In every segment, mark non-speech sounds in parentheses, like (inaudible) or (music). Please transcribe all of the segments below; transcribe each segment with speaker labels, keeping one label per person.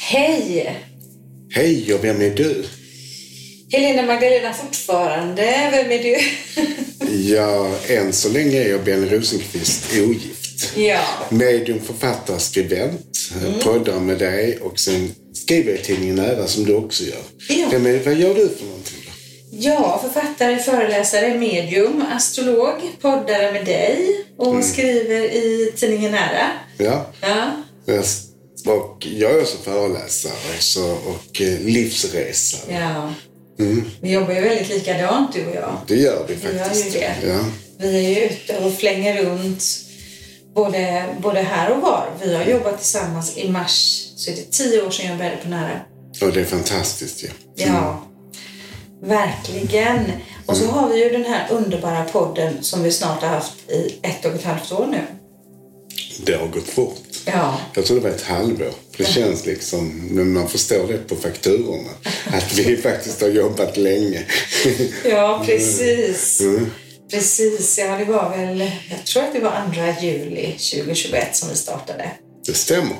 Speaker 1: Hej!
Speaker 2: Hej och vem är du?
Speaker 1: Helena Magdalena fortfarande. Vem är du?
Speaker 2: Ja, än så länge är jag Benny Rosenqvist
Speaker 1: (laughs)
Speaker 2: ogift.
Speaker 1: ja.
Speaker 2: Medium, författare, skribent.
Speaker 1: Mm.
Speaker 2: Poddar med dig och sen skriver jag i tidningen Nära som du också gör.
Speaker 1: Ja.
Speaker 2: Vem är, vad gör du för någonting då?
Speaker 1: ja, författare, föreläsare, medium, astrolog, poddare med dig och skriver i tidningen Nära.
Speaker 2: Ja.
Speaker 1: Mm. Ja.
Speaker 2: Och jag är också föreläsare så, och eh, livsresare.
Speaker 1: ja. Vi jobbar ju väldigt likadant du och jag.
Speaker 2: Det gör vi
Speaker 1: gör ju
Speaker 2: faktiskt.
Speaker 1: det.
Speaker 2: Ja.
Speaker 1: Vi är ju ute och flänger runt både, både här och var. Vi har jobbat tillsammans i mars, så är det tio år sedan jag började på Nära.
Speaker 2: Och det är fantastiskt ju.
Speaker 1: Ja, verkligen. Och så har vi ju den här underbara podden som vi snart har haft i ett och ett halvt år nu.
Speaker 2: Det har gått fort.
Speaker 1: Ja,
Speaker 2: Jag tror det var ett halvår. Det känns liksom, när man förstår det på fakturorna, att vi faktiskt har jobbat länge. (laughs)
Speaker 1: ja precis. Precis, ja det var väl, jag tror att det var andra juli 2021 som vi startade.
Speaker 2: Det stämmer.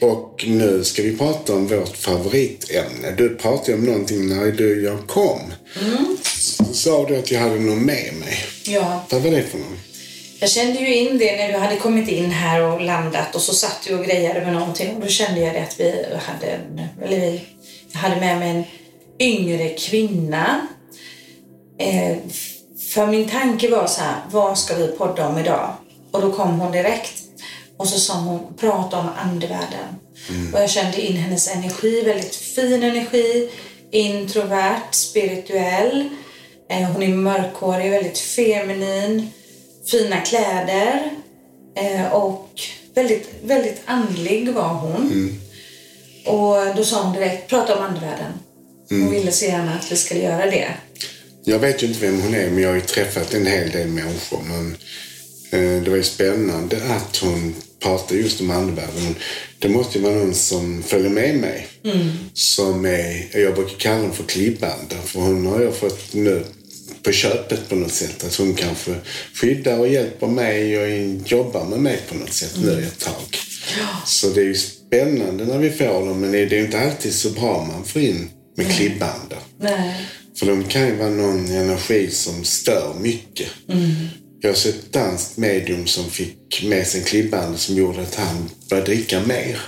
Speaker 2: Och nu ska vi prata om vårt favoritämne. Du pratade om någonting när du jag kom. Så sa du att jag hade någon med mig.
Speaker 1: Ja,
Speaker 2: Vad var det för någon?
Speaker 1: Jag kände ju in det när du hade kommit in här och landat och så satt du och grejade med någonting och då kände jag det att vi hade en, eller vi, jag hade med mig en yngre kvinna. Eh, för min tanke var så här, vad ska vi podda om idag? Och då kom hon direkt och så sa hon, prata om andevärlden. Och jag kände in hennes energi, väldigt fin energi, introvert, spirituell. Eh, hon är mörkhårig, väldigt feminin fina kläder eh, och väldigt, väldigt andlig var hon. Och då sa hon direkt, prata om andevärlden. Hon ville så gärna att vi skulle göra det.
Speaker 2: Jag vet ju inte vem hon är, men jag har ju träffat en hel del människor. Men eh, det var ju spännande att hon pratade just om andevärlden. Men Det måste ju vara någon som följer med mig. Som är, jag brukar kalla hon för klibban. För hon har jag fått nu på köpet på något sätt. Att hon kanske skyddar och hjälper mig och jobbar med mig på något sätt nu ett tag. Så det är ju spännande när vi får dem. Men det är ju inte alltid så bra man får in med klibban.
Speaker 1: Nej.
Speaker 2: För de kan ju vara någon energi som stör mycket. Jag har sett ett danskt medium som fick med sig en klibbande som gjorde att han började dricka mer.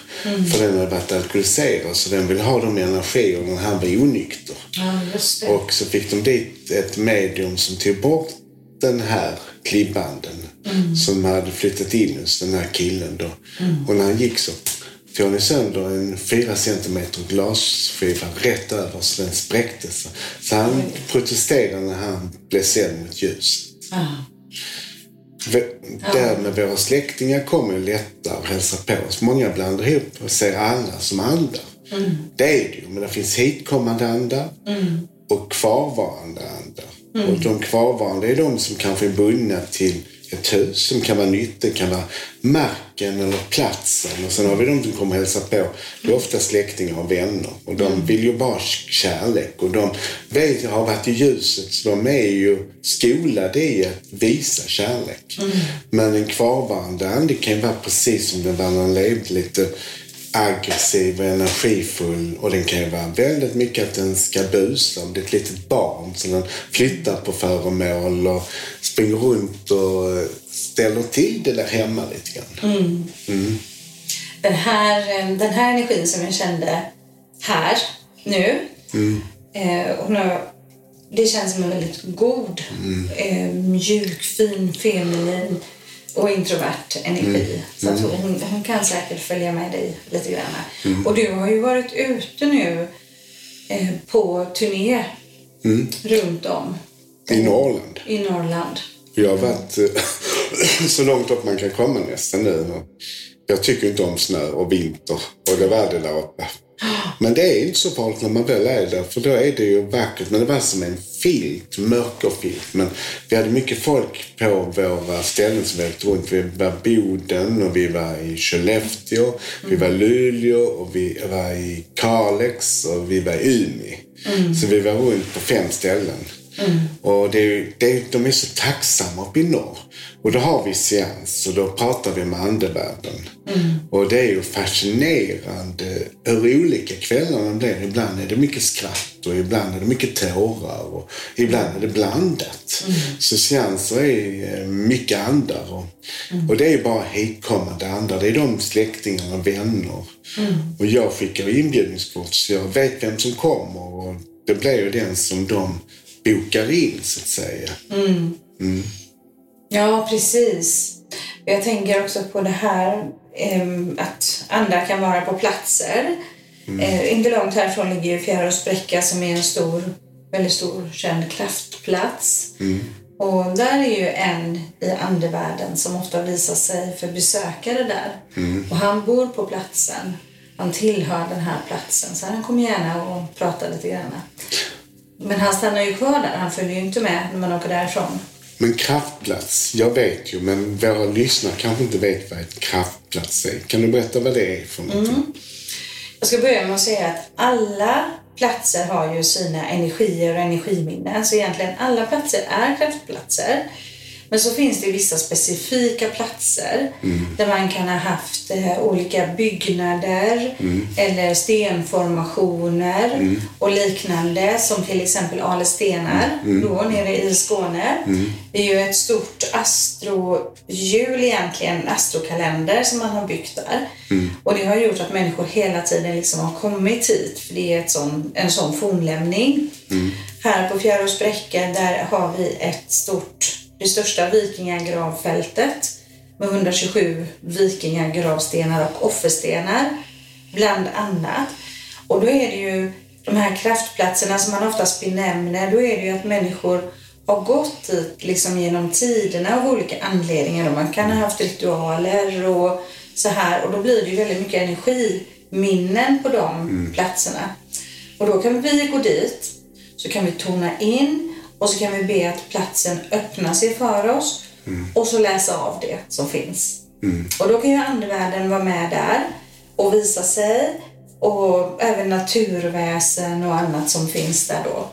Speaker 2: För den hade varit alkoholiserad så den ville ha de energierna när han var onykter.
Speaker 1: Ja, just det.
Speaker 2: Och så fick de dit ett medium som tog bort den här klibbanden som hade flyttat in hos den här killen då. Och när han gick så tog han sönder en fyra centimeter glasskiva rätt över så den spräcktes. Så han protesterade när han blev sänd mot ljus.
Speaker 1: Ja.
Speaker 2: V- Där med våra släktingar kommer lättare och hälsar på oss. Många blandar ihop och ser alla som andar. Det är det ju, men det finns hitkommande andar och kvarvarande andar. Och de kvarvarande är de som kanske är bundna till ett hus som kan vara nytt, det kan vara marken eller platsen. Och sen har vi de som kommer hälsa på. Det är ofta släktingar och vänner. Och de vill ju bara kärlek. Och de vet, har varit i ljuset så de är ju skolade i att visa kärlek. Men en kvarvarande ande kan ju vara precis som den var när den levde lite aggressiv och energifull och den kan ju vara väldigt mycket att den ska busa om det är ett litet barn så den flyttar på föremål och springer runt och eh, ställer till det där hemma lite grann.
Speaker 1: Den, här, eh, den här energin som jag kände här, nu, eh, hon har, det känns som en väldigt god, eh, mjuk, fin, feminin och introvert energi. Så att hon, hon kan säkert följa med dig lite grann. Och du har ju varit ute nu eh, på turné runt om
Speaker 2: I Norrland.
Speaker 1: i Norrland.
Speaker 2: Jag har varit eh, (laughs) så långt upp man kan komma nästan nu. Och Jag tycker inte om snö och vinter och det var det där uppe. Men det är inte så farligt när man väl är där, för då är det ju vackert. Men det var som en filt, mörkerfilt. Men vi hade mycket folk på våra ställen som vi åkte runt. Vi var i Boden och vi var i Skellefteå, vi var i Luleå och vi var i Kalix och vi var i Umeå. Så vi var runt på fem ställen. Och det är, ju- det är, de är så tacksamma uppe i norr. Och då har vi seans och då pratar vi med andevärlden. Och det är ju fascinerande hur olika kvällarna blir. Ibland är det mycket skratt och ibland är det mycket tårar och ibland är det blandat. Så seanser är eh, mycket andar. Och, och det är ju bara hitkommande andar. Det är de släktingarna och vänner. Och jag skickar inbjudningskort så jag vet vem som kommer. Och det blir ju den som de bokar in så att säga.
Speaker 1: Ja, precis. Jag tänker också på det här ehm, att andra kan vara på platser. Eh, inte långt härifrån ligger ju Fjärås bräcka som är en stor, väldigt stor känd kraftplats. Och där är ju en i andevärlden som ofta visar sig för besökare där. Och han bor på platsen. Han tillhör den här platsen så han kommer gärna och pratar lite grann. Men han stannar ju kvar där, han följer ju inte med när man åker därifrån.
Speaker 2: Men kraftplats, jag vet ju, men våra lyssnare kanske inte vet vad ett kraftplats är. Kan du berätta vad det är för någonting?
Speaker 1: Jag ska börja med att säga att alla platser har ju sina energier och energiminnen. Så egentligen alla platser är kraftplatser. Men så finns det vissa specifika platser där man kan ha haft eh, olika byggnader eller stenformationer och liknande. Som till exempel Ale stenar då nere i Skåne. Det är ju ett stort astrohjul egentligen, en astrokalender som man har byggt där. Och det har gjort att människor hela tiden liksom har kommit hit för det är ett sån, en sån fornlämning. Här på Fjärås bräcke där har vi ett stort, det största vikingagravfältet med 127 vikingagravstenar och offerstenar bland annat. Och då är det ju de här kraftplatserna som man oftast benämner, då är det ju att människor har gått hit liksom genom tiderna av olika anledningar. Och man kan ha haft ritualer och så här och då blir det ju väldigt mycket energiminnen på de platserna. Och då kan vi gå dit, så kan vi tona in och så kan vi be att platsen öppnar sig för oss och så läsa av det som finns. Och då kan ju andevärlden vara med där och visa sig och även naturväsen och annat som finns där då.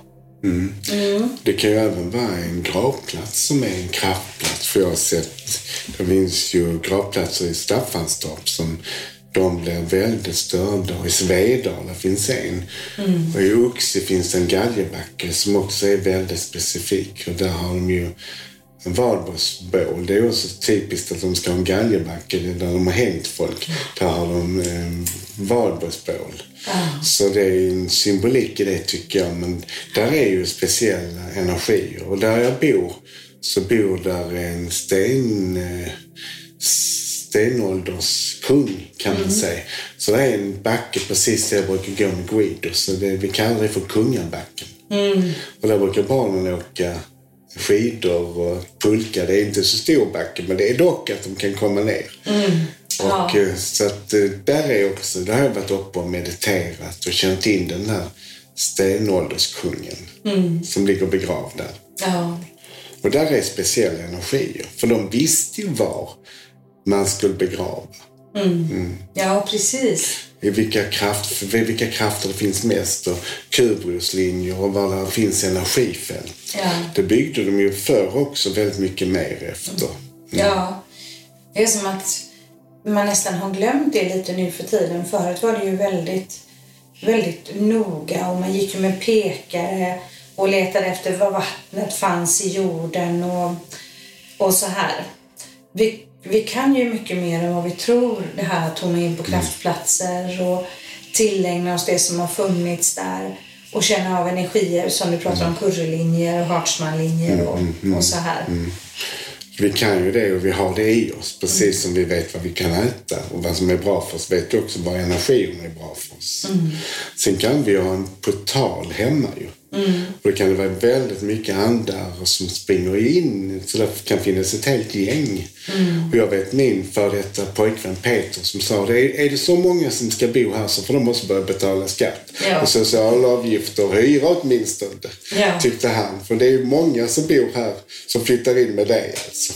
Speaker 2: Det kan ju även vara en gravplats som är en kraftplats. För jag har sett, det finns ju gravplatser i Staffanstorp som de blir väldigt störda. Och i Svedala finns en. Och i Uxie finns en galgebacke som också är väldigt specifik. Och där har de ju en valborgsbål. Det är också typiskt att de ska ha en galgebacke där de har hängt folk. Där har de eh, valborgsbål. Så det är en symbolik i det tycker jag. Men där är ju speciella energier. Och där jag bor så bor där en sten, eh, stenålderskung kan man säga. Så det är en backe precis där jag brukar gå med Guido. Så det, vi kallar det för Kungabacken. Och där brukar barnen åka skidor och pulka. Det är inte så stor backe men det är dock att de kan komma ner. Och, eh, Så att eh, där är också, där har jag varit uppe och mediterat och känt in den här stenålderskungen som ligger begravd där.
Speaker 1: Ja.
Speaker 2: Och där är speciella energier, för de visste ju var man skulle begrava.
Speaker 1: ja, precis.
Speaker 2: I vilka, kraft, vid vilka krafter det finns mest och kubruslinjer och var det finns energifält.
Speaker 1: Ja.
Speaker 2: Det byggde de ju förr också väldigt mycket mer efter.
Speaker 1: Ja. Det är som att man nästan har glömt det lite nu för tiden. Förut var det ju väldigt, väldigt noga och man gick ju med pekare och letade efter vad vattnet fanns i jorden och, och så här. Vi, vi kan ju mycket mer än vad vi tror. Det här att tona in på kraftplatser och tillägna oss det som har funnits där och känna av energier som du pratar om, currylinjer och Hartsmannlinjer och, och så här.
Speaker 2: Vi kan ju det och vi har det i oss. Precis som vi vet vad vi kan äta och vad som är bra för oss vet vi också vad energin är bra för oss. Sen kan vi ha en portal hemma ju. Och då kan det vara väldigt mycket andar som springer in så det kan finnas ett helt gäng. Och jag vet min före detta pojkvän Peter som sa det är, är det så många som ska bo här så får de också börja betala skatt.
Speaker 1: Ja.
Speaker 2: Och socialavgifter och hyra åtminstone.
Speaker 1: Ja.
Speaker 2: Tyckte han. För Typ det är ju många som bor här som flyttar in med dig alltså.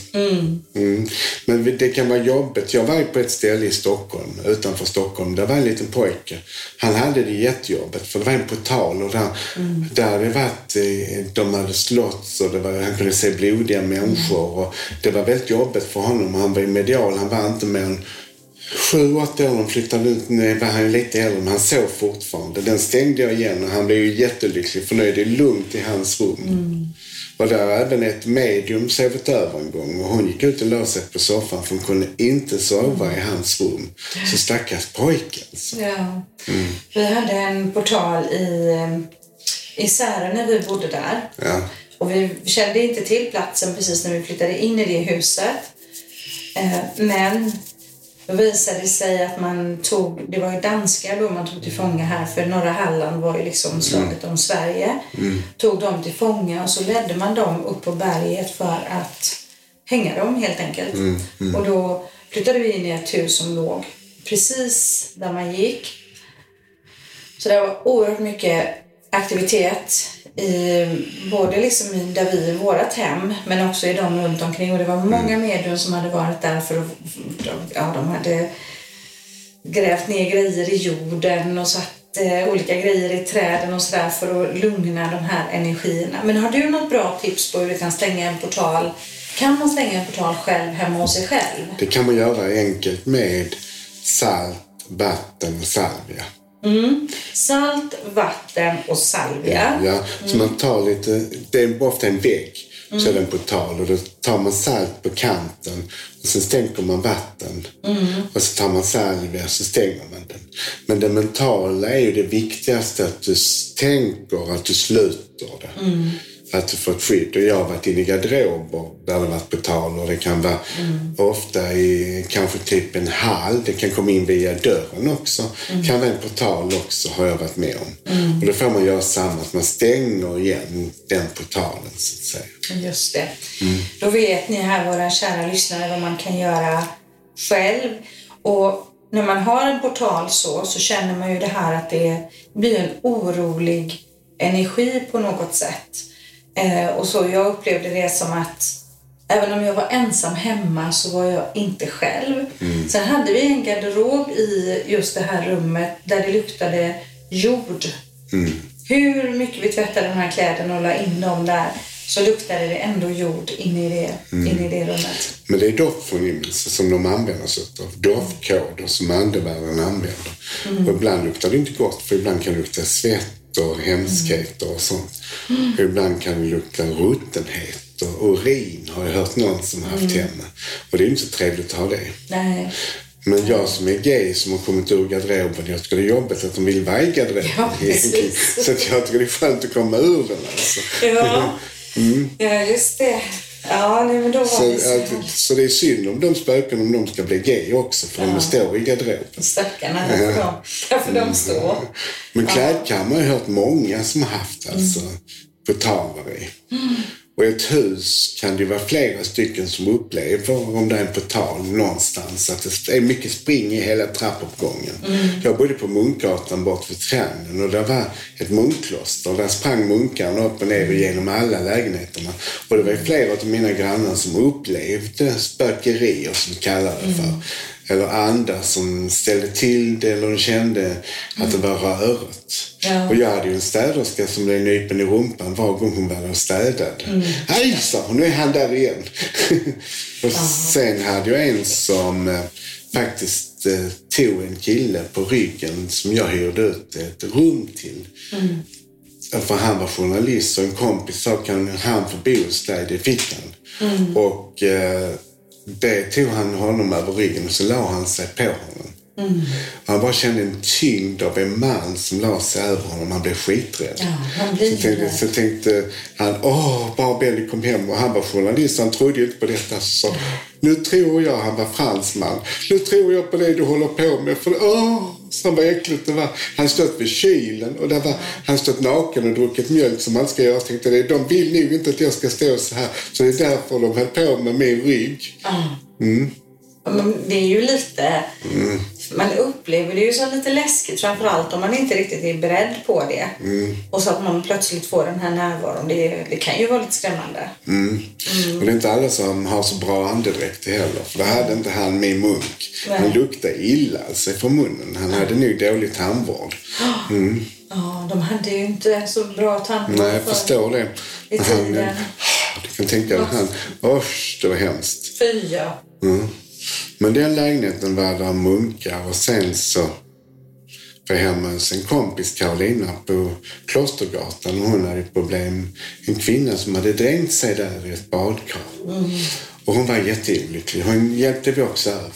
Speaker 2: Mm. Men vi- det kan vara jobbigt. Jag var ju på ett ställe i Stockholm, utanför Stockholm. Där var en liten pojke. Han hade det jättejobbigt för det var en portal och där, där där hade vi varit, eh, de hade slåtts och det var, han kunde se blodiga människor. Och det var väldigt jobbigt för honom. Han var medial, han var inte mer än sju, åtta år när de flyttade ut. Nu var han lite äldre, men han sov fortfarande. Den stängde jag igen och han blev ju jättelycklig för nu är det lugnt i hans rum. Och där har även ett medium sovit över en gång och hon gick ut och la sig på soffan för hon kunde inte sova i hans rum. Så stackars alltså. pojken. Så.
Speaker 1: Ja. Vi hade en portal i, eh, i Särö när vi bodde där.
Speaker 2: Ja.
Speaker 1: Och vi kände inte till platsen precis när vi flyttade in i det huset. Eh, Men då visade det sig att man tog, det var ju danskar då man tog till fånga här för norra Halland var ju liksom slaget om Sverige. Tog dem till fånga och så ledde man dem upp på berget för att hänga dem helt enkelt. Och då flyttade vi in i ett hus som låg precis där man gick. Så det var oerhört mycket aktivitet i, både liksom i, där vi i vårt hem men också i de runt omkring. Och det var många medium som hade varit där för att de, ja, de hade grävt ner grejer i jorden och satt eh, olika grejer i träden och sådär för att lugna de här energierna. Men har du något bra tips på hur du kan stänga en portal? Kan man stänga en portal själv hemma hos sig själv?
Speaker 2: Det kan man göra enkelt med salt, vatten och salvia.
Speaker 1: Salt, vatten och salvia.
Speaker 2: Ja, så man tar lite, det är ofta en vägg, så är det en portal och då tar man salt på kanten och sen stänker man vatten och så tar man salvia och så stänger man den. Men det mentala är ju det viktigaste att du s- tänker att du sluter det. Att du får ett skydd. Och jag har varit inne i garderober där det har varit portaler. Det kan vara ofta i kanske typ en hall. Det kan komma in via dörren också. kan vara en portal också har jag varit med om. Och då får man göra samma, att man stänger igen den portalen så att säga.
Speaker 1: Just det. Då vet ni här, våra kära lyssnare, vad man kan göra själv. Och när man har en portal så, så känner man ju det här att det blir en orolig energi på något sätt. Eh, och så Jag upplevde det som att även om jag var ensam hemma så var jag inte själv. Sen hade vi en garderob i just det här rummet där det luktade jord. Hur mycket vi tvättade de här kläderna och la in dem där så luktade det ändå jord inne i det, inne i det rummet.
Speaker 2: Men det är doftförnimmelse som de använder sig av. Doftkoder som andevärlden använder.
Speaker 1: Mm.
Speaker 2: Och ibland luktar det inte gott för ibland kan det lukta svett och hemskheter och sånt. Och ibland kan det lukta ruttenhet och urin har jag hört någon som haft
Speaker 1: Mm.
Speaker 2: hemma. Och det är ju inte så trevligt att ha det.
Speaker 1: Nej.
Speaker 2: Men jag som är gay som har kommit ur garderoben, jag tycker det är jobbigt att de vill vara i garderoben.
Speaker 1: Ja, precis.
Speaker 2: egentligen. (laughs) så att jag tycker det är skönt att komma ur den alltså.
Speaker 1: Ja. ja, just det. Ja, nej, men då var
Speaker 2: Så,
Speaker 1: det så här.
Speaker 2: att, så det är synd om de spöken om de ska bli gay också, för de står i garderoben.
Speaker 1: Stackarna, där får de, där får de stå.
Speaker 2: Men klädkammare har jag hört många som har haft alltså portaler i. Och i ett hus kan det vara flera stycken som upplever, om det är en portal någonstans, att det är mycket spring i hela trappuppgången. Jag bodde på Munkgatan bort vid Trenden och där var ett munkkloster. Där sprang munkarna upp och ner och genom alla lägenheterna. Och det var ju flera av mina grannar som upplevde spökerier, som vi kallar det för. Eller andar som ställde till det eller de kände att det var röret.
Speaker 1: Ja.
Speaker 2: Och jag hade ju en städerska som blev nypen i rumpan var gång hon var där och städade. Hej, sa hon, nu är han där igen. (laughs) och sen hade jag en som eh, faktiskt eh, tog en kille på ryggen som jag hyrde ut ett rum till. För han var journalist och en kompis sa kan han få bo hos dig? Det fick han. Och eh, det tog han honom över ryggen och så la han sig på honom.
Speaker 1: Mm.
Speaker 2: Han bara kände en tyngd av en man som la sig över honom. Han blev skiträdd.
Speaker 1: Ja, han blir
Speaker 2: så, tänkte,
Speaker 1: det.
Speaker 2: så tänkte han, åh, bara Benny kom hem. Och han var journalist, han trodde ju inte på detta. Så sa, nu tror jag, han var fransman, nu tror jag på det du håller på med. För, åh, så vad äckligt det var. Han stått vid kylen och där var han stått naken och druckit mjölk som man ska göra. Jag tänkte, det, de vill nog inte att jag ska stå så här. Så det är därför de höll på med min rygg.
Speaker 1: Mm. Men det är ju lite... Man upple- upplever det ju som lite läskigt framförallt om man inte riktigt är beredd på det. Och så att man plötsligt får den här närvaron. Det, det kan ju vara lite skrämmande.
Speaker 2: Mm. Och det är inte alla som har så bra andedräkt heller. För det hade inte han min munk.
Speaker 1: Nej.
Speaker 2: Han luktade illa alltså från munnen. Han hade nog dålig tandvård.
Speaker 1: Ja, de hade ju inte så bra tandvård
Speaker 2: Nej, jag
Speaker 1: förr.
Speaker 2: förstår det.
Speaker 1: I
Speaker 2: Men han- eh,
Speaker 1: tiden.
Speaker 2: Du kan tänka dig han. Usch, det var hemskt.
Speaker 1: Fy, ja.
Speaker 2: Men den lägenheten var där munkar och sen så var jag hemma hos en kompis, Karolina, på Klostergatan. Hon hade problem. En kvinna som hade dränkt sig där i ett badkar.
Speaker 1: Mm.
Speaker 2: Och hon var jätteolycklig. Hon hjälpte vi också över.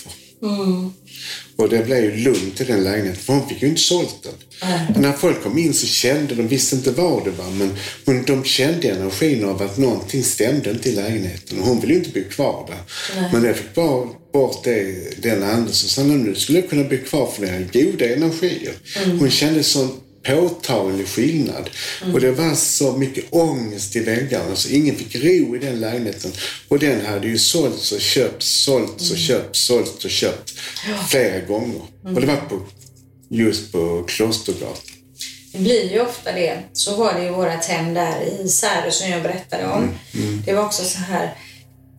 Speaker 2: Och det blev ju lugnt i den lägenheten, för hon fick ju inte sålt den. Och När folk kom in så kände de, visste inte vad det var, men hon, de kände energin av att någonting stämde inte i lägenheten. Och hon ville ju inte bo kvar där. Men jag fick bara bort det, den anden som sa, "Nej, nu skulle jag kunna bo kvar för det här goda energier. Hon kände sån påtaglig skillnad. Och det var så mycket ångest i väggarna så ingen fick ro i den lägenheten. Och den hade ju sålts och köpts, sålts och köpts, sålts och köpt flera gånger. Och det var på, just på Klostergatan.
Speaker 1: Det blir ju ofta det. Så var det i vårat hem där i Särö som jag berättade
Speaker 2: Mm,
Speaker 1: om. Det var också så här,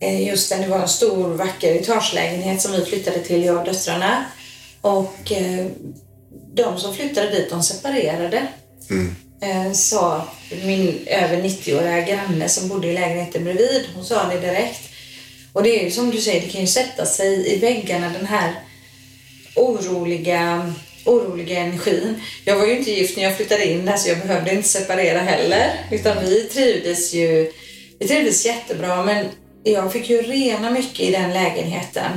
Speaker 1: eh, just när det var en stor vacker etagelägenhet som vi flyttade till, jag och döttrarna. Och eh, de som flyttade dit, de separerade.
Speaker 2: Mm.
Speaker 1: Eh, Sa min över 90-åriga granne som bodde i lägenheten bredvid, hon sa det direkt. Och det är ju som du säger, det kan ju sätta sig i väggarna den här oroliga, oroliga energin. Jag var ju inte gift när jag flyttade in där så jag behövde inte separera heller. Utan vi trivdes ju vi trivdes jättebra men jag fick ju rena mycket i den lägenheten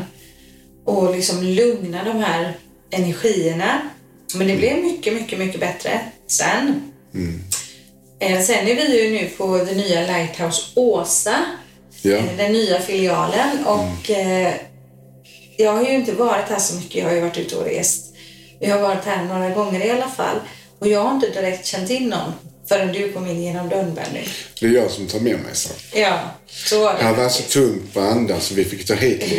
Speaker 1: och liksom lugna de här energierna. Men det blev mycket, mycket, mycket bättre sen. Eh, Sen är vi ju nu på det nya Lighthouse Åsa,
Speaker 2: Ja. Mm.
Speaker 1: eh, den nya filialen. Och eh, jag har ju inte varit här så mycket, jag har ju varit ute och rest. Jag har varit här några gånger i alla fall. Och jag har inte direkt känt in någon förrän du kom in genom dörren Benny.
Speaker 2: Det är jag som tar med mig saker.
Speaker 1: Ja, så var det.
Speaker 2: Det var så tungt på andan så vi fick ta hit lite.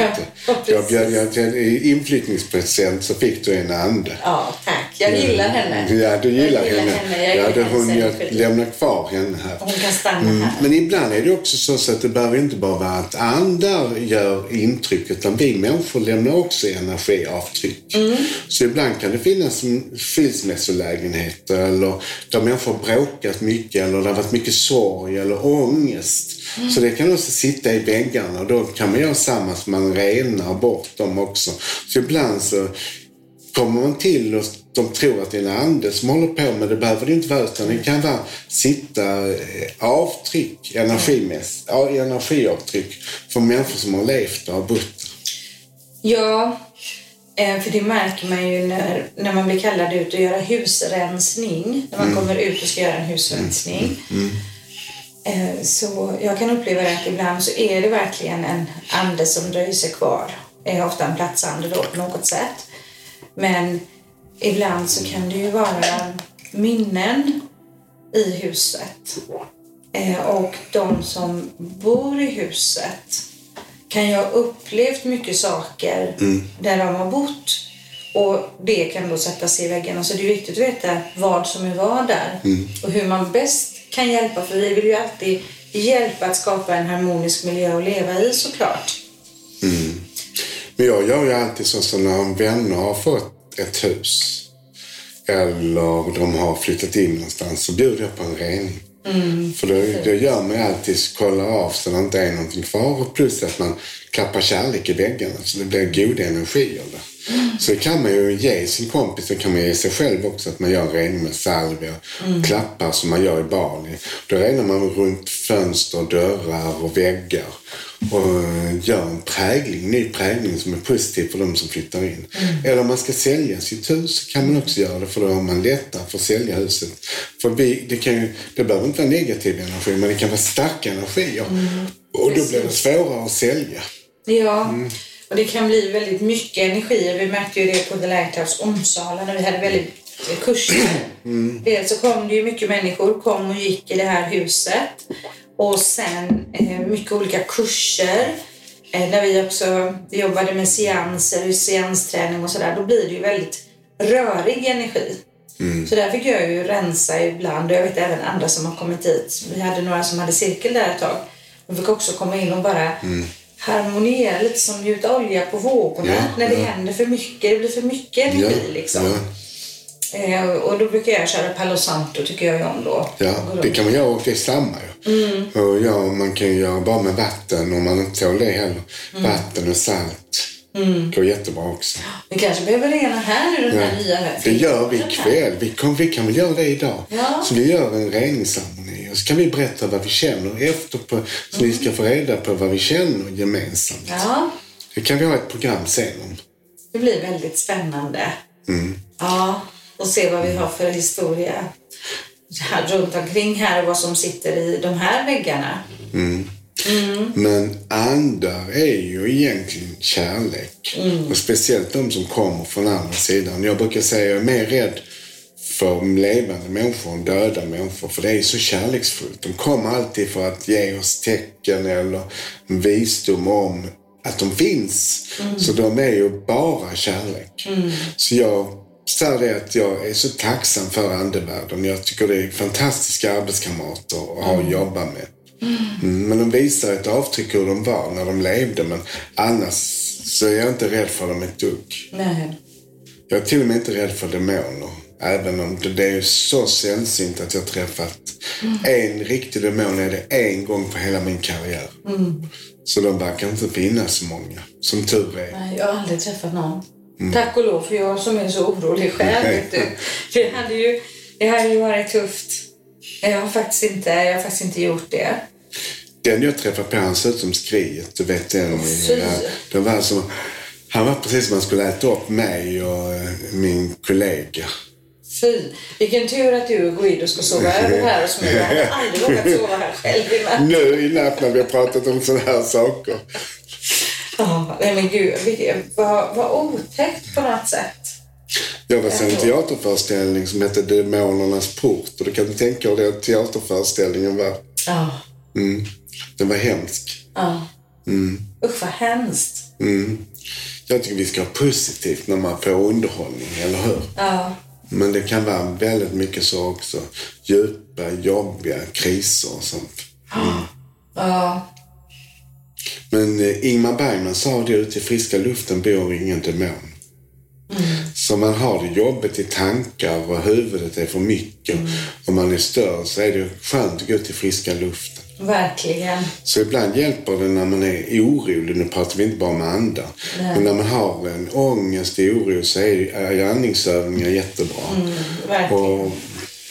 Speaker 1: Ja,
Speaker 2: jag bjöd,
Speaker 1: precis.
Speaker 2: jag, till- i inflyttningspresent så fick du en ande.
Speaker 1: Ja, tack. Jag gillar henne.
Speaker 2: Ja, du
Speaker 1: Jag
Speaker 2: gillar henne.
Speaker 1: Jag
Speaker 2: ja,
Speaker 1: gillar
Speaker 2: det Mm. är hon,
Speaker 1: hennes
Speaker 2: jag
Speaker 1: energi.
Speaker 2: lämnar kvar henne här.
Speaker 1: Hon kan stanna här.
Speaker 2: Men ibland är det också så så att det behöver inte bara vara att andra gör intryck utan vi människor lämnar också energiavtryck. Så ibland kan det finnas en skilsmässolägenheter eller där människor har bråkat mycket eller det har varit mycket sorg eller ångest. Så det kan också sitta i väggarna och då kan man göra samma som man renar bort dem också. Så ibland så kommer man till och de tror att det är en ande som håller på med det behöver det inte vara utan det kan vara sitta eh, avtryck, energimäss, ja, energiavtryck från människor som har levt och har bott.
Speaker 1: Ja, eh, för det märker man ju när, när man blir kallad ut att göra husrensning. När man kommer ut och ska göra en husrensning. Eh, Så jag kan uppleva det att ibland så är det verkligen en ande som dröjer sig kvar. Det är ofta en platsande då på något sätt. Men ibland så kan det ju vara minnen i huset. Eh, Och de som bor i huset kan ju ha upplevt mycket saker där de har bott. Och det kan då sätta sig i väggarna. Så det är viktigt att veta vad som är vad där. Och hur man bäst kan hjälpa. För vi vill ju alltid hjälpa att skapa en harmonisk miljö att leva i såklart.
Speaker 2: Men jag gör ju alltid så som när vänner har fått ett hus eller de har flyttat in någonstans så bjuder jag på en rening. För det, det gör man ju alltid, kolla av så det inte är någonting kvar och plus att man klappar kärlek i väggarna så det blir goda energier där. Så det kan man ju ge sin kompis, det kan man ge sig själv också att man gör en rening med salvia och klappar som man gör i Bali. Då renar man runt fönster, dörrar och väggar och eh, gör en prägling, ny prägling som är positiv för de som flyttar in.
Speaker 1: Mm.
Speaker 2: Eller om man ska sälja sitt hus kan man också göra det för då har man lättare för att sälja huset. För vi, det, kan ju, det behöver inte vara negativ energi men det kan vara starka energier
Speaker 1: Mm.
Speaker 2: och då blir det svårare att sälja.
Speaker 1: Ja, och det kan bli väldigt mycket energi. Vi märkte ju det på The Lighthouse Onsala när vi hade väldigt kurser. Dels Eh, så kom det ju mycket människor, kom och gick i det här huset. Och sen eh, mycket olika kurser. Eh, när vi också jobbade med seanser och seansträning och sådär, då blir det ju väldigt rörig energi.
Speaker 2: Mm.
Speaker 1: Så där fick jag ju rensa ibland och jag vet även andra som har kommit hit. Vi hade några som hade cirkel där ett tag. De fick också komma in och bara harmoniera lite som gjuta olja på vågorna
Speaker 2: Mm. Ja,
Speaker 1: när det
Speaker 2: ja.
Speaker 1: händer för mycket. Det blir för mycket energi liksom.
Speaker 2: ja,
Speaker 1: Eh, och då brukar jag köra Palo Santo tycker jag ju om då.
Speaker 2: ja, det kan man göra och det är samma ju.
Speaker 1: Mm.
Speaker 2: Och ja, man kan ju göra bara med vatten om man inte tål det heller.
Speaker 1: Mm.
Speaker 2: Vatten och salt går jättebra också.
Speaker 1: Vi kanske behöver rena här nu den här nya
Speaker 2: Det
Speaker 1: hösten.
Speaker 2: gör vi ikväll. Vi, kom, vi kan väl göra det idag.
Speaker 1: Ja.
Speaker 2: Så vi gör en reningsceremoni och så kan vi berätta vad vi känner efter på, så ni ska få reda på vad vi känner gemensamt.
Speaker 1: Ja,
Speaker 2: Det kan vi ha ett program sen om.
Speaker 1: det blir väldigt spännande.
Speaker 2: Mm.
Speaker 1: Ja, och se vad vi har för historia här runt omkring här och vad som sitter i de här väggarna.
Speaker 2: Men andar är ju egentligen kärlek. Och speciellt de som kommer från andra sidan. Jag brukar säga att jag är mer rädd för levande människor än döda människor. För det är så kärleksfullt. De kommer alltid för att ge oss tecken eller visdom om att de finns. Så de är ju bara kärlek. Så jag säger det att jag är så tacksam för andevärlden. Jag tycker det är fantastiska arbetskamrater att ha att jobba med. Mm, Men de visar ett avtryck hur de var när de levde. Men annars så är jag inte rädd för dem ett dugg.
Speaker 1: Nej.
Speaker 2: Jag är till och med inte rädd för demoner. Även om det, det är så sällsynt att jag träffat en riktig demon är det en gång på hela min karriär. Så de verkar inte finnas så många, som tur är.
Speaker 1: Nej, jag har aldrig träffat någon. Tack och lov för jag som är så orolig själv.
Speaker 2: Mm. Nej.
Speaker 1: Vet du. Det, hade ju, det hade ju varit tufft. Jag har faktiskt inte, jag har faktiskt inte gjort det.
Speaker 2: Den jag träffade på, han såg ut som skriet. Du vet den.
Speaker 1: Fy.
Speaker 2: Det var som, han var precis som han skulle äta upp mig och eh, min kollega.
Speaker 1: Fy, vilken tur att du och Guido ska sova över här hos mig. Jag hade aldrig vågat sova här själv i natt.
Speaker 2: nu i natt när vi har pratat om sådana här saker.
Speaker 1: Ja, nej men gud, vilket- vad, vad otäckt på något sätt.
Speaker 2: Jag var på en teaterföreställning som hette Demonernas port och du kan tänka dig hur den teaterföreställningen var.
Speaker 1: Ja,
Speaker 2: Mm. Den var hemsk.
Speaker 1: ja. Usch vad hemskt.
Speaker 2: Jag tycker vi ska ha positivt när man får underhållning, eller hur?
Speaker 1: Ja,
Speaker 2: Men det kan vara väldigt mycket så också. Djupa, jobbiga kriser och sånt. Mm.
Speaker 1: ja.
Speaker 2: Men eh, Ingmar Bergman sa det, ute i friska luften bor ingen demon.
Speaker 1: Mm.
Speaker 2: Så man har det jobbigt i tankar och huvudet är för mycket.
Speaker 1: Mm.
Speaker 2: Om man är störd så är det skönt att gå ut i friska luften.
Speaker 1: verkligen.
Speaker 2: Så ibland hjälper det när man är orolig, nu pratar vi inte bara om andra.
Speaker 1: Nej.
Speaker 2: Men när man har en ångest och oro så är är ju andningsövningar jättebra.
Speaker 1: Verkligen.
Speaker 2: Och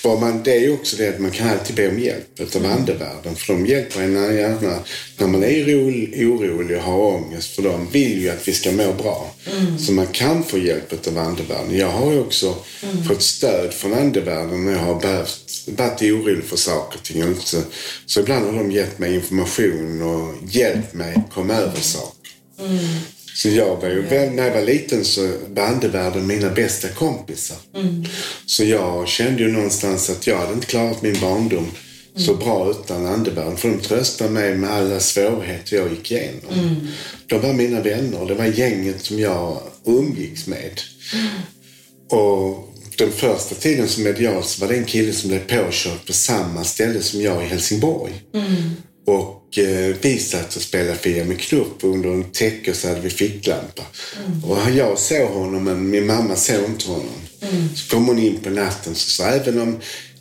Speaker 2: vad man, det är ju också det att man kan alltid be om hjälp utav andevärlden. För de hjälper en gärna när man är ro- orolig och har ångest. För de vill ju att vi ska må bra. Så man kan få hjälp utav andevärlden. Jag har ju också fått stöd från andevärlden när jag har behövt, varit orolig för saker och ting. Så, så ibland har de gett mig information och hjälpt mig att komma över saker. Så jag var ju, väl, när jag var liten så var andevärlden mina bästa kompisar. Så jag kände ju någonstans att jag hade inte klarat min barndom så bra utan andevärlden. För de tröstade mig med alla svårigheter jag gick igenom. De var mina vänner, det var gänget som jag umgicks med. Och den första tiden som medial så var det en kille som blev påkörd på samma ställe som jag i Helsingborg. Och eh, vi satt och spelade Fia med knupp under en täcke och så hade vi ficklampa. Och jag såg honom men min mamma såg inte honom. Så kom hon in på natten och sa även om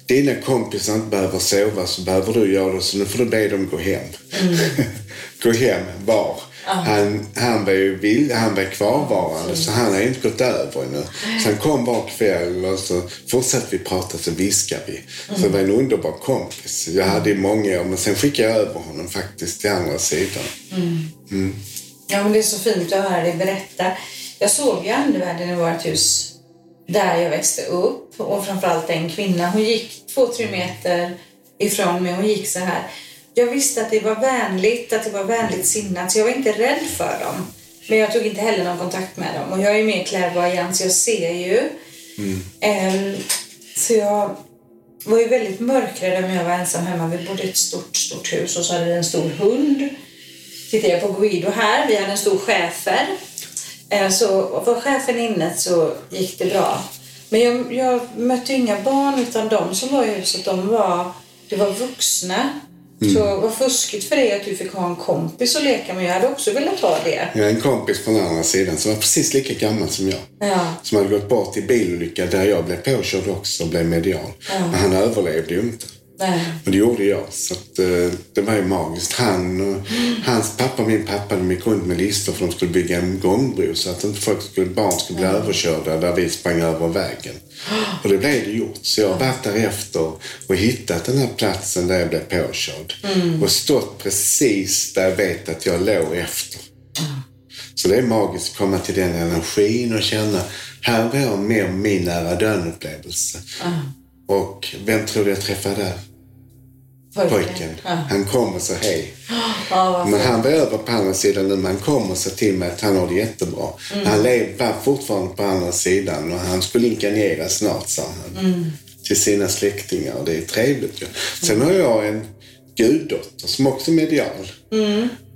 Speaker 2: dina kompisar inte behöver sova så behöver du göra det så nu får du be dem gå hem. (laughs) gå hem, var? Han, han var ju vill, han var kvarvarande så han har inte gått över ännu. Så han kom var kväll och så fortsatte vi prata så viskade vi. Så det var en underbar kompis. Jag hade i många år men sen skickade jag över honom faktiskt till andra sidan.
Speaker 1: Ja, men det är så fint att höra dig berätta. Jag såg ju andevärlden i vårt hus där jag växte upp och framförallt en kvinna. Hon gick två, tre meter ifrån mig. Hon gick så här. Jag visste att det var vänligt, att det var vänligt sinnat, så jag var inte rädd för dem. Men jag tog inte heller någon kontakt med dem. Och jag är ju mer clairvoyant, så jag ser ju. Ehm, så jag var ju väldigt mörkrädd om jag var ensam hemma. Vi bodde i ett stort, stort hus och så hade vi en stor hund tittade jag på Guido här. Vi hade en stor schäfer. Eh, Så var schäfern inne så gick det bra. Men jag, jag mötte inga barn utan de som var i huset, de var, det var vuxna.
Speaker 2: Mm.
Speaker 1: Så vad fuskigt för dig att du fick ha en kompis att leka med. Jag hade också velat ha det.
Speaker 2: Jag har en kompis från andra sidan som var precis lika gammal som jag.
Speaker 1: Ja.
Speaker 2: Som hade gått bort i bilolycka där jag blev påkörd också och blev medial. Men han överlevde ju inte.
Speaker 1: Nej.
Speaker 2: Och det gjorde jag. Så att, eh, det var ju magiskt. Han och hans pappa och min pappa de gick runt med listor för de skulle bygga en gångbro så att inte folk skulle, barn skulle bli överkörda där vi sprang över vägen. Och det blev det gjort. Så jag har varit därefter och hittat den här platsen där jag blev påkörd. Och stått precis där jag vet att jag låg efter. Så det är magiskt att komma till den energin och känna, här var jag med om min nära döden-upplevelse. Och vem tror du jag träffade där? pojken.
Speaker 1: Ja.
Speaker 2: Han kom och sa hej.
Speaker 1: Ja, vad-
Speaker 2: Men han var över på andra sidan nu. men Han kom och sa till mig att han har det jättebra. Han lever fortfarande på andra sidan och han skulle inkarnera snart, sa han. Till sina släktingar och det är trevligt ju. Sen har jag en guddotter som också är medial.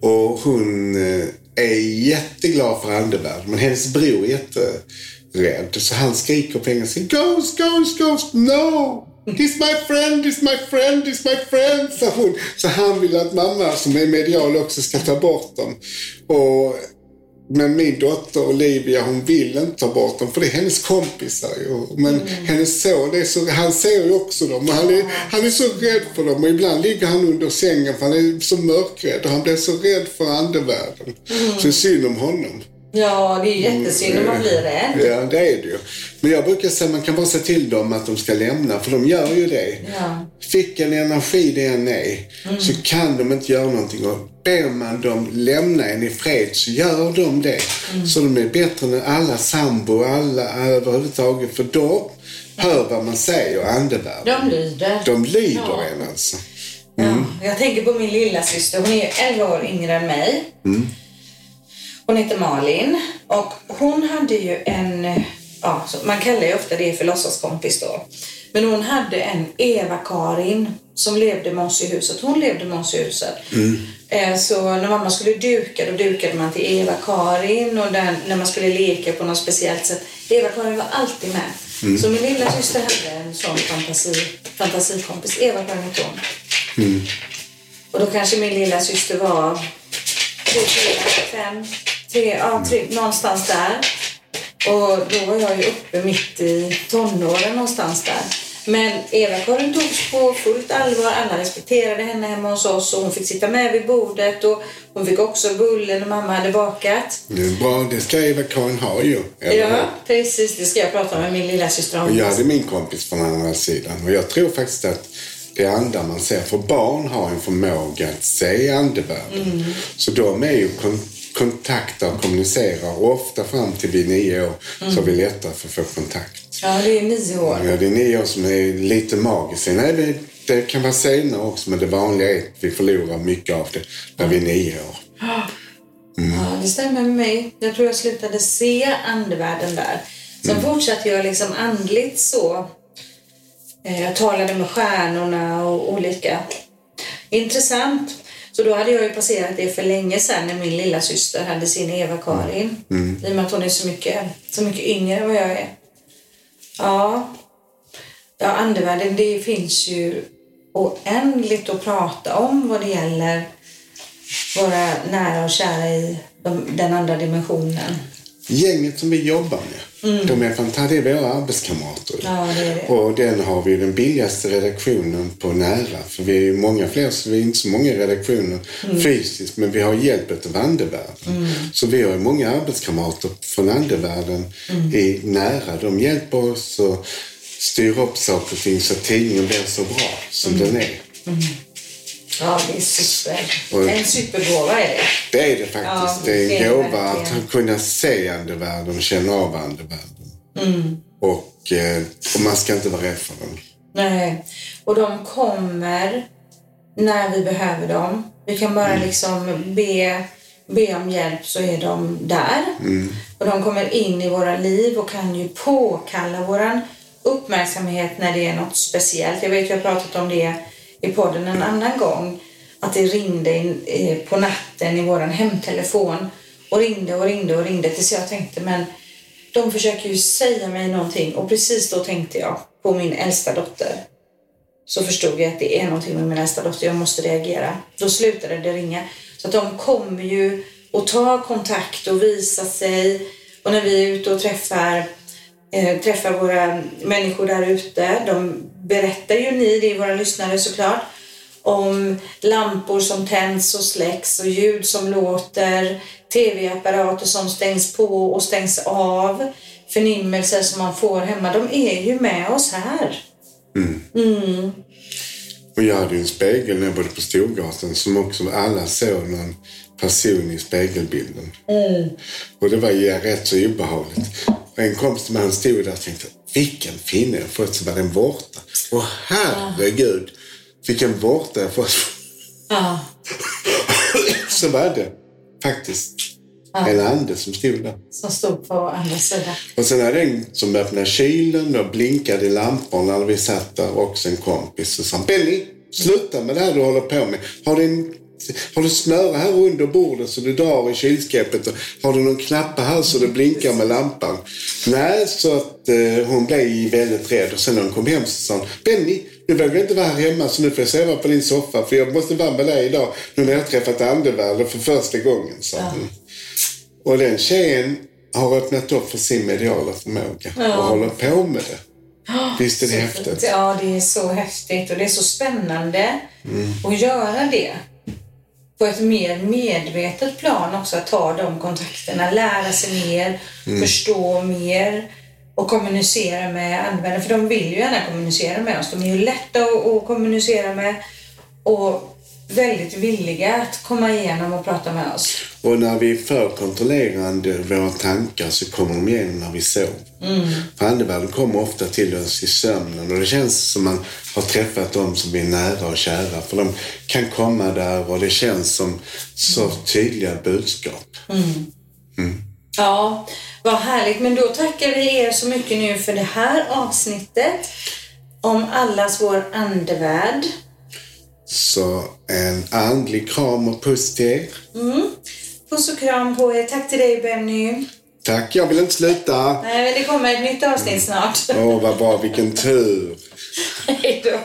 Speaker 2: Och hon eh, är jätteglad för andevärlden. Men hennes bror är jätterädd. Så han skriker på engelska. Ghost, ghost, ghost, no! This my friend, this my friend, this my friend, sa hon. Så han vill att mamma som är medial också ska ta bort dem. Och, men min dotter Olivia, hon vill inte ta bort dem för det är hennes kompisar. ju. Men hennes son, det är så, han ser ju också dem och han är, han är så rädd för dem. Och ibland ligger han under sängen för han är så mörkrädd och han blir så rädd för andevärlden. Så det är synd om honom.
Speaker 1: ja, det är ju jättesynd om man
Speaker 2: Mm.
Speaker 1: blir rädd.
Speaker 2: Ja, det är det ju. Men jag brukar säga man kan bara säga till dem att de ska lämna, för de gör ju det.
Speaker 1: Ja.
Speaker 2: Vilken energi det än är, så kan de inte göra någonting. Och ber man dem lämna en i fred så gör de det. Så de är bättre än alla sambo, alla, alla överhuvudtaget, för de hör vad man säger och andevärlden.
Speaker 1: De lyder.
Speaker 2: De lyder
Speaker 1: Ja.
Speaker 2: en alltså.
Speaker 1: Ja, jag tänker på min lilla syster. Hon är ju 11 år yngre än mig. Hon heter Malin och hon hade ju en, ja, så man kallar ju ofta det för låtsaskompis då. Men hon hade en Eva-Karin som levde med oss i huset. Hon levde med oss i huset. Eh, Så när mamma skulle duka, då dukade man till Eva-Karin och den, när man skulle leka på något speciellt sätt. Eva-Karin var alltid med. Så min lilla syster hade en sån fantasi, fantasikompis. Eva-Karin hette hon. Och då kanske min lilla syster var tre, fyra, fem, tre, ja, tre, någonstans där. Och då var jag ju uppe mitt i tonåren någonstans där. Men Eva-Karin togs på fullt allvar. Alla respekterade henne hemma hos oss och hon fick sitta med vid bordet och hon fick också bullen mamma hade bakat.
Speaker 2: Det är bra, det ska Eva-Karin ha ju. eller hur?
Speaker 1: Ja, precis. Det ska jag prata med min lilla syster om.
Speaker 2: Jag hade min kompis från andra sidan och jag tror faktiskt att det andra man ser, för barn har en förmåga att se andevärlden. Så de är ju kon- kontaktar och kommunicerar och ofta fram till vi är nio år så har vi lättare för att få kontakt.
Speaker 1: Ja, det är nio år.
Speaker 2: Ja, det är nio år som är lite magiskt. Sen är det, det kan vara senare också men det vanliga är att vi förlorar mycket av det när vi är nio år.
Speaker 1: Ja, det stämmer med mig. Jag tror jag slutade se andevärlden där. Sen fortsatte jag liksom andligt så. Eh, Jag talade med stjärnorna och olika. Intressant. Så då hade jag ju passerat det för länge sedan när min lilla syster hade sin Eva-Karin. I och med att hon är så mycket, så mycket yngre än vad jag är. Ja. Ja, andevärlden, det finns ju oändligt att prata om vad det gäller våra nära och kära i de, den andra dimensionen.
Speaker 2: Gänget som vi jobbar med, de är fantastiska. Det är våra arbetskamrater.
Speaker 1: Mm. Ja, det är det.
Speaker 2: Och den har vi den billigaste redaktionen på nära. För vi är ju många fler, så vi är inte så många redaktioner
Speaker 1: Mm.
Speaker 2: fysiskt. Men vi har hjälp av andevärlden. Så vi har ju många arbetskamrater från andevärlden
Speaker 1: Mm.
Speaker 2: i nära. De hjälper oss och styr upp saker och ting så att tidningen blir så bra som
Speaker 1: Mm.
Speaker 2: den är.
Speaker 1: Ja, det är super.
Speaker 2: Och-
Speaker 1: En supergåva är det.
Speaker 2: Det är det faktiskt.
Speaker 1: Ja,
Speaker 2: det är
Speaker 1: det är
Speaker 2: en
Speaker 1: det
Speaker 2: gåva att
Speaker 1: verkligen.
Speaker 2: kunna se andevärlden och känna av andevärlden. Och, eh, och man ska inte vara rädd för den.
Speaker 1: Nej. Och de kommer när vi behöver dem. Vi kan bara liksom be, be om hjälp så är de där. Och de kommer in i våra liv och kan ju påkalla våran uppmärksamhet när det är något speciellt. Jag vet jag har pratat om det i podden en annan gång. Att det ringde in, eh, på natten i våran hemtelefon och ringde och ringde och ringde tills jag tänkte men de försöker ju säga mig någonting och precis då tänkte jag på min äldsta dotter. Så förstod jag att det är någonting med min äldsta dotter, jag måste reagera. Då slutade det ringa. Så att de kommer ju och tar kontakt och visar sig. Och när vi är ute och träffar, eh, träffar våra människor där ute, de berättar ju ni, det är våra lyssnare såklart, om lampor som tänds och släcks och ljud som låter, tv-apparater som stängs på och stängs av, förnimmelser som man får hemma. De är ju med oss här. Mm.
Speaker 2: Och jag hade ju en spegel när jag bodde på Storgatan som också alla såg någon person i spegelbilden. Och det var ju rätt så obehagligt. Och en kompis till mig han stod där och tänkte, vilken finne jag fått, så var den borta. Och herregud, vilken borta jag fått.
Speaker 1: Ja.
Speaker 2: (laughs) så var det faktiskt. En ande som stod där.
Speaker 1: Som stod på andra sidan.
Speaker 2: Och sen hade en som öppnade kylen och blinkade i lamporna när vi satt där också en kompis och sa Benny, sluta med det här du håller på med. Har du, en, har du snöre här under bordet så du drar i kylskåpet? Och Har du någon knapp här så du blinkar med lampan? Nej, så att eh, hon blev väldigt rädd och sen när hon kom hem så sa hon Benny, nu vågar jag inte vara här hemma så nu får jag sova på din soffa för jag måste vara med dig idag nu när jag har träffat andevärlden för första gången, sa hon. Och den tjejen har öppnat upp för sin mediala förmåga och håller på med det. Visst är det häftigt?
Speaker 1: Ja, det är så häftigt och det är så spännande
Speaker 2: Mm.
Speaker 1: att göra det. På ett mer medvetet plan också, att ta de kontakterna, lära sig mer,
Speaker 2: Mm.
Speaker 1: förstå mer och kommunicera med användare. För de vill ju gärna kommunicera med oss. De är ju lätta att, att kommunicera med och väldigt villiga att komma igenom och prata med oss.
Speaker 2: Och när vi är för kontrollerande våra tankar så kommer de igenom när vi sover. För andevärlden kommer ofta till oss i sömnen och det känns som man har träffat dem som är nära och kära. För de kan komma där och det känns som så tydliga budskap.
Speaker 1: Ja, vad härligt. Men då tackar vi er så mycket nu för det här avsnittet om allas vår andevärld.
Speaker 2: Så en andlig kram och puss till er.
Speaker 1: Puss och kram på er. Tack till dig Benny.
Speaker 2: Tack, jag vill inte sluta.
Speaker 1: Nej, men det kommer ett nytt avsnitt snart.
Speaker 2: Åh, vad bra, vilken tur.
Speaker 1: (laughs) Hej då.